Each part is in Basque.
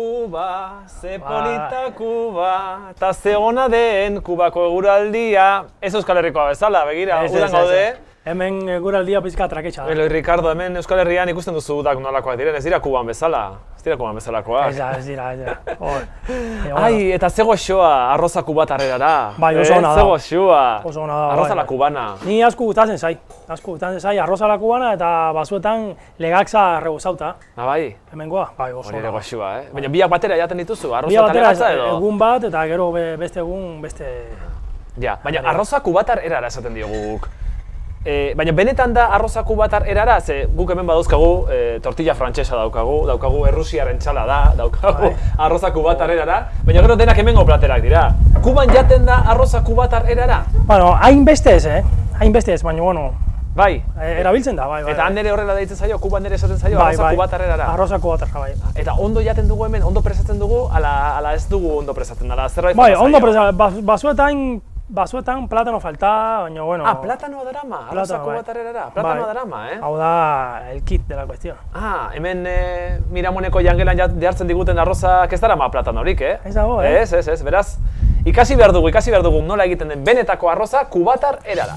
Kuba, ze polita Kuba, eta ze ona den Kubako eguraldia. Ez Euskal Herrikoa bezala, begira, Ez, ez, udan ez, gaude. ez. Hemen eh, guraldia pizka traketxa da. Eloi Ricardo, hemen Euskal Herrian ikusten duzu udak nolakoak diren, ez dira Kuban bezala. Ez dira Kuban bezalakoak. Ez da, ez dira, ez dira. Hor. Eh, bueno, Ai, eta ze goxoa, arroza kubatarrerara. Bai, oso Eh, ona Ze da. goxoa. Oso ona da, Arroza bai, la bai. kubana. Ni asko gustatzen zai. Asko gustatzen zai arrozala kubana eta bazuetan legaxa rebozauta. Ah, bai. Hemengoa, bai, oso. Hori ere ona. goxoa, eh? Baina biak batera jaten dituzu, Bi arroza eta batera legatza edo? egun bat eta gero be- beste egun beste Ja, baina bai. arroza kubatar erara esaten diogu guk. E, baina benetan da arroza kubatar erara, ze guk hemen badauzkagu e, tortilla frantsesa daukagu, daukagu errusiaren txala da, daukagu Bai. arroza kubatar erara, baina gero denak hemengo platerak dira. Kuban jaten da arroza kubatar erara? Bueno, hainbeste ez, eh? Hainbeste ez, baina, bueno, Bai. eh, erabiltzen da, bai, bai. Eta han bai. nere horrela deitzen zaio, kuban nere esaten zaio bai, arroza bai. kubatar erara. Arroza kubatarra, bai. Eta ondo jaten dugu hemen, ondo presatzen dugu, ala, ala ez dugu ondo presatzen, ala zerbait Bai, falta ondo zaio. presa, bas- bazuetan, bazuetan platano falta, baina, bueno... Ah, platanoa darama, arroza bai. kubatarerara, platanoa darama, eh? Hau da, el kit de la cuestión. Ah, hemen e, Miramoneko jangelan jat- jartzen diguten arrozak ez darama platanorik, eh? Ez dago, eh? Ez, ez, ez, beraz, ikasi behar dugu, ikasi behar dugu nola egiten den benetako arroza kubatar erara.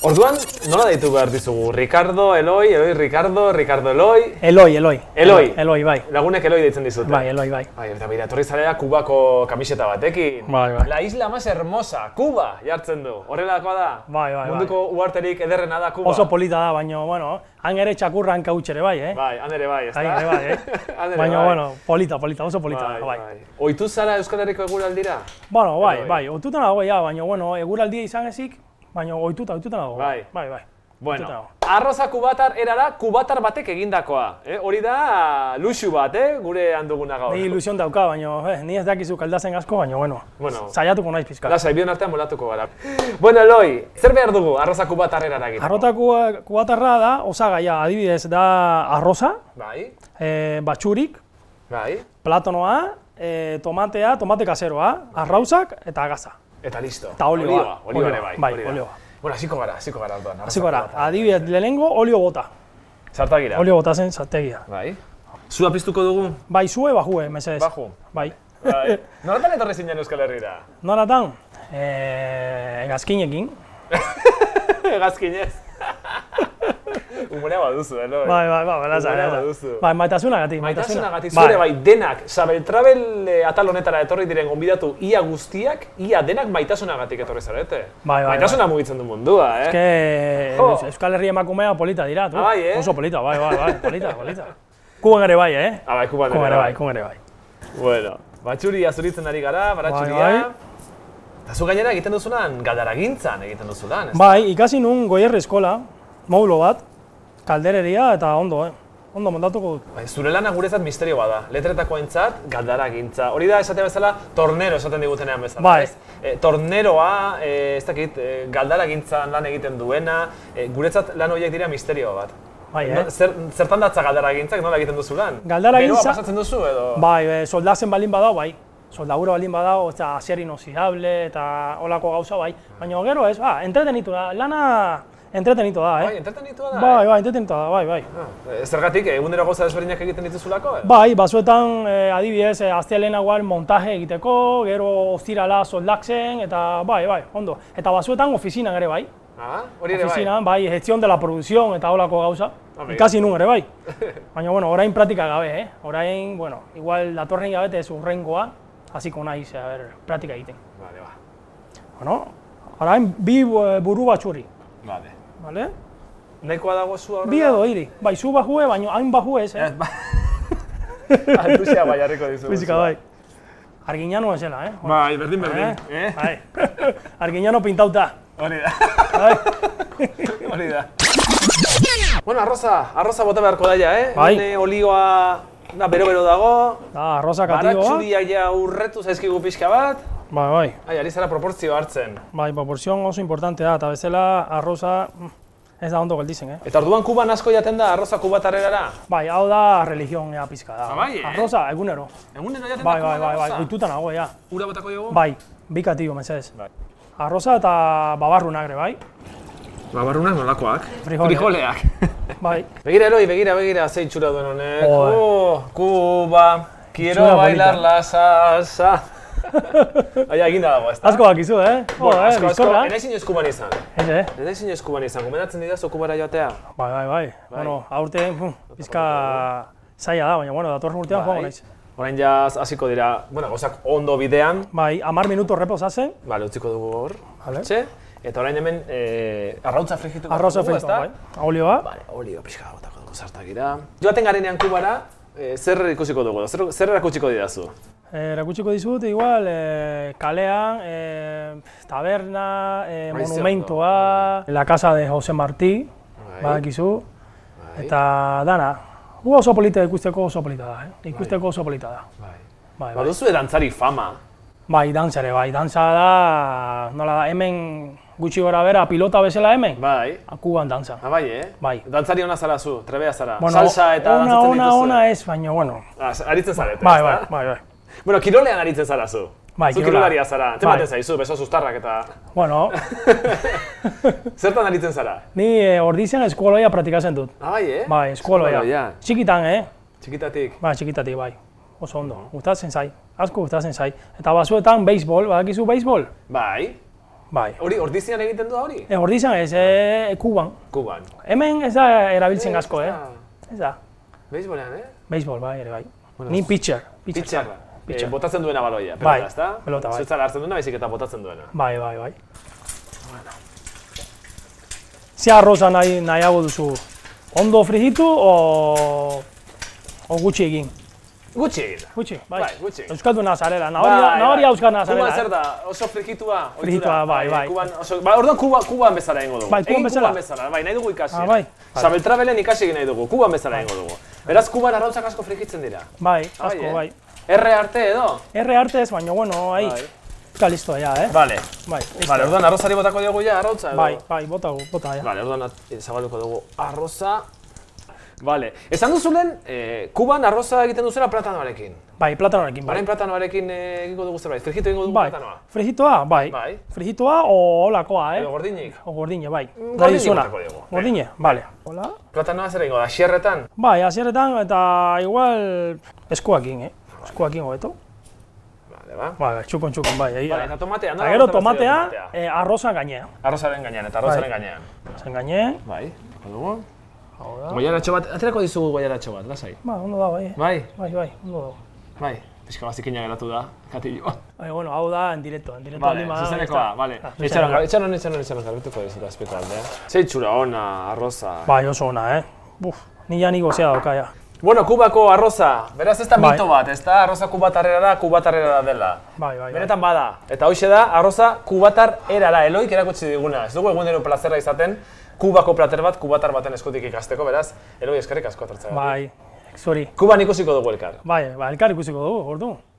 Orduan, nola deitu behar dizugu? Ricardo, Eloi, Eloi, Ricardo, Ricardo, Eloi... Eloi, Eloi. Eloi. Eloi, bai. Lagunek Eloi deitzen dizute. Bai, Eloi, bai. Bai, eta bera, etorri zarea Kubako kamiseta batekin. Bai, bai. La isla más hermosa, Kuba, jartzen du. Horrelakoa da. Bai, bai, bai. Munduko uarterik ederrena da Kuba. Oso polita da, baina, bueno, han ere txakurran kautxere bai, eh? Bai, han ere bai, ezta? Bai, ere bai, eh? Han ere baina, bai. bueno, polita, polita, oso polita bai, da, bai. bai. Oitu zara Euskal Herriko eguraldira? Bueno, bai, Eloi. bai, oituta nago, ja, baina, bueno, eguraldia izan ezik, baina oituta, oituta nago. Bai. Bai, bai. Bueno, Oituta arroza kubatar erara kubatar batek egindakoa. Eh? Hori da luxu bat, eh? gure handuguna gaur. Ni ilusion dauka, baina, eh, ni ez dakizu kaldazen asko, baina, bueno, Bueno. saiatuko naiz pizka. Lasai, bion artean molatuko gara. Bueno, Eloi, zer behar dugu arroza kubatar erara egiteko? Arrota kua- kubatarra da, osagaia, adibidez, da arroza, Bai, eh, batxurik, bai. platanoa, eh, tomatea, tomate kaseroa, arrauzak eta gaza. Eta listo. Eta olioa. Olioa, olioa ere Olioa, bai. bai, hori da. olioa. Bueno, hasiko gara, hasiko gara orduan. arroza Hasi gara, kubatar. adibidez, lehenengo olio bota. Zartagira. Olio bota zen saltegia. Bai. Zua piztuko dugu? Bai, zue, bajue, mesedez. Baju. Bai. Bai. Noratan etorri zinen Euskal Herrira? Noratan, eh, gazkinekin. Bai. Hegazkinez. Humorea baduzu, elo. Bai, bai, bai, beraza, Gogora beraza. baduzu. Bai, maitasunagatik, Maitasunagatik zure bai, denak, Sabel Travel eh, atal honetara etorri diren gonbidatu ia guztiak, ia denak maitasunagatik etorri zarete. Bai, bai, Maitasuna mugitzen du mundua, eh? Eske, Jo. Euskal Herri emakumea polita dira, tu. Ah, bai, eh? Oso polita, bai, bai, bai, polita, polita. Kuban ere bai, eh? Ah, bai, kuban Kuban ere ere bai, bai. kuban ere bai. Bueno, batxuri azuritzen ari gara, baratxuria. Bai, bai. Eta zu gainera egiten duzunan, galdaragintzan egiten duzunan, ez? Bai, ikasi nun goierri eskola, modulo bat, kaldereria eta ondo, eh? Ondo montatuko dut. Bai, zure lana guretzat misterioa da. Letretakoentzat galdaragintza. Hori da esate bezala tornero esaten digutenean bezala, Bai. ez? E, torneroa, e, ez dakit, e, galdaragintzan lan egiten duena, e, guretzat lan horiek dira misterio bat. Bai, eh? No, zer, zertan datza galdaragintzak, nola egiten duzu lan? Galdaragintza- Beroa pasatzen duzu edo? Bai, e, soldazen balin badao, bai. Soldagura balin badao, eta azier inoxidable, eta holako gauza, bai. Baina gero ez, ba, entretenitu da, lana entretenitu da, Bai, eh? entretenitua da. Bai, eh? bai, entretenitu da, bai, bai. Ah, e, Zergatik, egunero gauza desberdinak egiten dituzulako? edo? Bai, batzuetan eh, adibidez, eh, astelena guan montaje egiteko, gero ostirala soldatzen, eta bai, bai, ondo. Eta batzuetan ofizinan ere bai. Ah, hori ere bai. Ofizinan, bai, gestión de la producción eta holako gauza. Hombre. Ikasi nun ere bai. Baina, bueno, orain praktika gabe, eh? Orain, bueno, igual datorren gabete ez urrengoa, hasiko naiz, a ber, praktika egiten. Vale, ba. Bueno, orain bi eh, buru batxuri, Vale. vale? Nahikoa dago zu aurrera? Bi edo hiri, bai, zu bajue, baina hain bajue ez, eh? Ez, ba. Antusia bai harriko dizugu. Bizika, bai. Arginano zela, eh? Bai, berdin berdin. Eh? Eh? Bai. Arginano pintauta. Hori da. Bai. Hori da. Bueno, arroza, arroza bota beharko daia, eh? Bai. Hemen, eh, olioa da bero-bero dago, Da, arroza katigoa. baratxuriak ja urretu zaizkigu pixka bat. Bai, bai. Ai, ari zara proportzio hartzen. Bai, proporzion oso importante ah, da, eta bezala arroza mm, ez da ondo geldizen, eh? Eta orduan kuban asko jaten da arroza kubatarerara. Bai, hau da religion ea pizka da. Ah, bai, eh? Arroza, egunero. Egunero jaten da Bai, bai, kuban bai, bai, arroza. oituta nago, ja. Ura botako diogu? Bai, bi katio, mesedez. Bai. Arroza eta babarrunak ere, bai. ba, Babarrunak nolakoak? Frijole. Frijoleak. Bai, Begira, Eloi, begira, begira, ze itxura duen honek. Joder. Oh, Kuba, quiero Itxura bailar bonita. la salsa. Aia, eginda dago, ez da? asko bakizu, eh? Jo, Bueno, eh, asko, asko. bizkorra. Ez naiz inoiz kuban izan. Ez, eh? Ez naiz inoiz kuban izan. Gomendatzen didazu kubara joatea? Bai, bai, bai. Bueno, aurten, pum, pizka Bai. zaila da, baina, bueno, datorren urtean joango naiz. Orain jaz hasiko dira, bueno, gozak ondo bidean. Bai, amar minutu reposatzen, Bale, utziko dugu hor. Vale. hortxe. Eta orain hemen, eh, arrautza frigituko arroza dugu, fritua, ezta? bai. Olioa, Vale, olio pixka botako dugu zartagira. Joaten garenean kubara, eh, zer ikusiko dugu, zer, zer erakutsiko didazu? Eh, erakutsiko dizut, igual, eh, kalean, eh, taberna, eh, Haize ondo. monumentoa, la casa de Jose Martí, Bai. badakizu, Ba, eta dana. Gu oso polita ikusteko oso polita da, eh? ikusteko oso polita da. Bai. Bai, bai. Baduzu dantzari fama. bai dantza ere, bai, dantza da, nola da, hemen gutxi gora bera, pilota bezala hemen, Bai. kuban dantza. Ah, bai, eh? Bai. Dantzari ona zara zu, trebea zara. Salsa eta ona, dantzatzen ona, dituzue. ona ez, baina, bueno, Ah, aritzen zarete, bai, bai, ezta? bai, bai. Bueno, kirolean aritzen zara zu. Bai, zu kirola. kirolaria zara. Zer Bai. baten zaizu, beso sustarrak eta... Bueno, Zertan aritzen zara? ni eh, ordizan eskuoloia praktikatzen dut. Ah, bai, eh? Bai, eskoloia. Txikitan, eh? Txikitatik. Ba, txikitatik, bai. Oso ondo. Gustatzen zai. Asko gustatzen zai. Eta bazuetan, beisbol, badakizu beisbol? Bai. Bai. Hori, ordizian egiten du da hori? E, hor dizan ez, e, Kuban. Kuban. Hemen ez da erabiltzen Eh, asko, ez eh? da- Ez da. Beisbolean, eh? Beisbol, bai, ere, bai. Ni pitcher. pitcher. Pitxarra. Pitcher. Eh, botatzen duena baloia, pelota, Bai, ezta? pelota, bai. Zutzara hartzen duena, baizik eta botatzen duena. Bai, bai, bai. Ze arroza nahi, nahiago duzu? Ondo frijitu o, o gutxi egin? Gutxi egin. Gutxi, bai. Bai, gutxi. Euskalduna zarela, nahoria, nahoria euskalduna Kuban zarela. eh? Bai, zer da, oso frikitua. ohitura. Frikitua, bai, bai. Kuban, oso, ba, orduan Kuba, Kuban bezala egingo dugu. Bai, Kuban Egin bezala. Kuban bezala, bai, nahi dugu ikasi. Ah, bai. Sabeltrabelen ikasi egin nahi dugu, Kuban bezala egingo dugu. Beraz, Kuban arrautzak asko frikitzen dira. Bai, Ah, asko, eh? bai. Erre arte edo? Erre arte ez, baina, bueno, ahí. Bai. Está listo ya, eh? Vale. Bai, listo. Vale, orduan arrozari botako diogu ja, arrautza edo? Bai, bai, bota, gu- bota ya. Vale, orduan at- eh, zabalduko dugu arroza. Vale, esan duzu lehen, eh, Kuban arroza egiten duzula platanoarekin. Bai, platanoarekin, bai. Orain platanoarekin eh, egingo dugu zerbait, frijitu egingo dugu Bai, platanoa. frijitoa, bai. Bai. Frijitoa o olakoa, eh? Edo gordinik. O gordine, bai. gordine Tradizional. botako diogu. Gordine, vale. Hola. Platanoa zer egingo da, xierretan? Bai, hasieretan eta igual eskuakin, eh? Eskuakin hobeto. Vale, ba. Bai, bai, txukon, txukon, bai, egia. Bai, eta tomatea, nola Eta gero gustatzen zaio tomatea, tomatea? eh, arroza gainean. Arrozaren gainean eta arrozaren Bai. gainean. Zen gainean, Bai, jo dugu. Goiaratxo bat, aterako dizugu goiaratxo bat, lasai. ba, ondo da, bai. eh. Bai, Bai, bai, ondo dago. bai. Pixka bazikina geratu da, katillo. Bai, bueno, hau da, en directo, en directo Bale, aldin bada, zuzenekoa, ez da. bale. Ah, Etxaron, zuzenekoa. etxaron, etxaron, etxaron, garbetuko dizut azpeko aldea. Ze itxura ona, arroza. Bai, oso ona, eh? Buf, ni ja ni gozea dauka, ja. Bueno, Kubako arroza, beraz ez da Bai. mito bat, ez da arroza kubatarrera da, kubatarrera da dela. Bai, bai, bai. Benetan bada, eta hoxe da, arroza kubatar erara, eloik erakutsi diguna. Ez dugu egunero plazerra izaten, Kubako plater bat, kubatar baten eskutik ikasteko, beraz, eloi eskerrik asko atortzea. Bai, zuri. Kuban ikusiko dugu elkar. Bai, ba, elkar ikusiko dugu, ordu.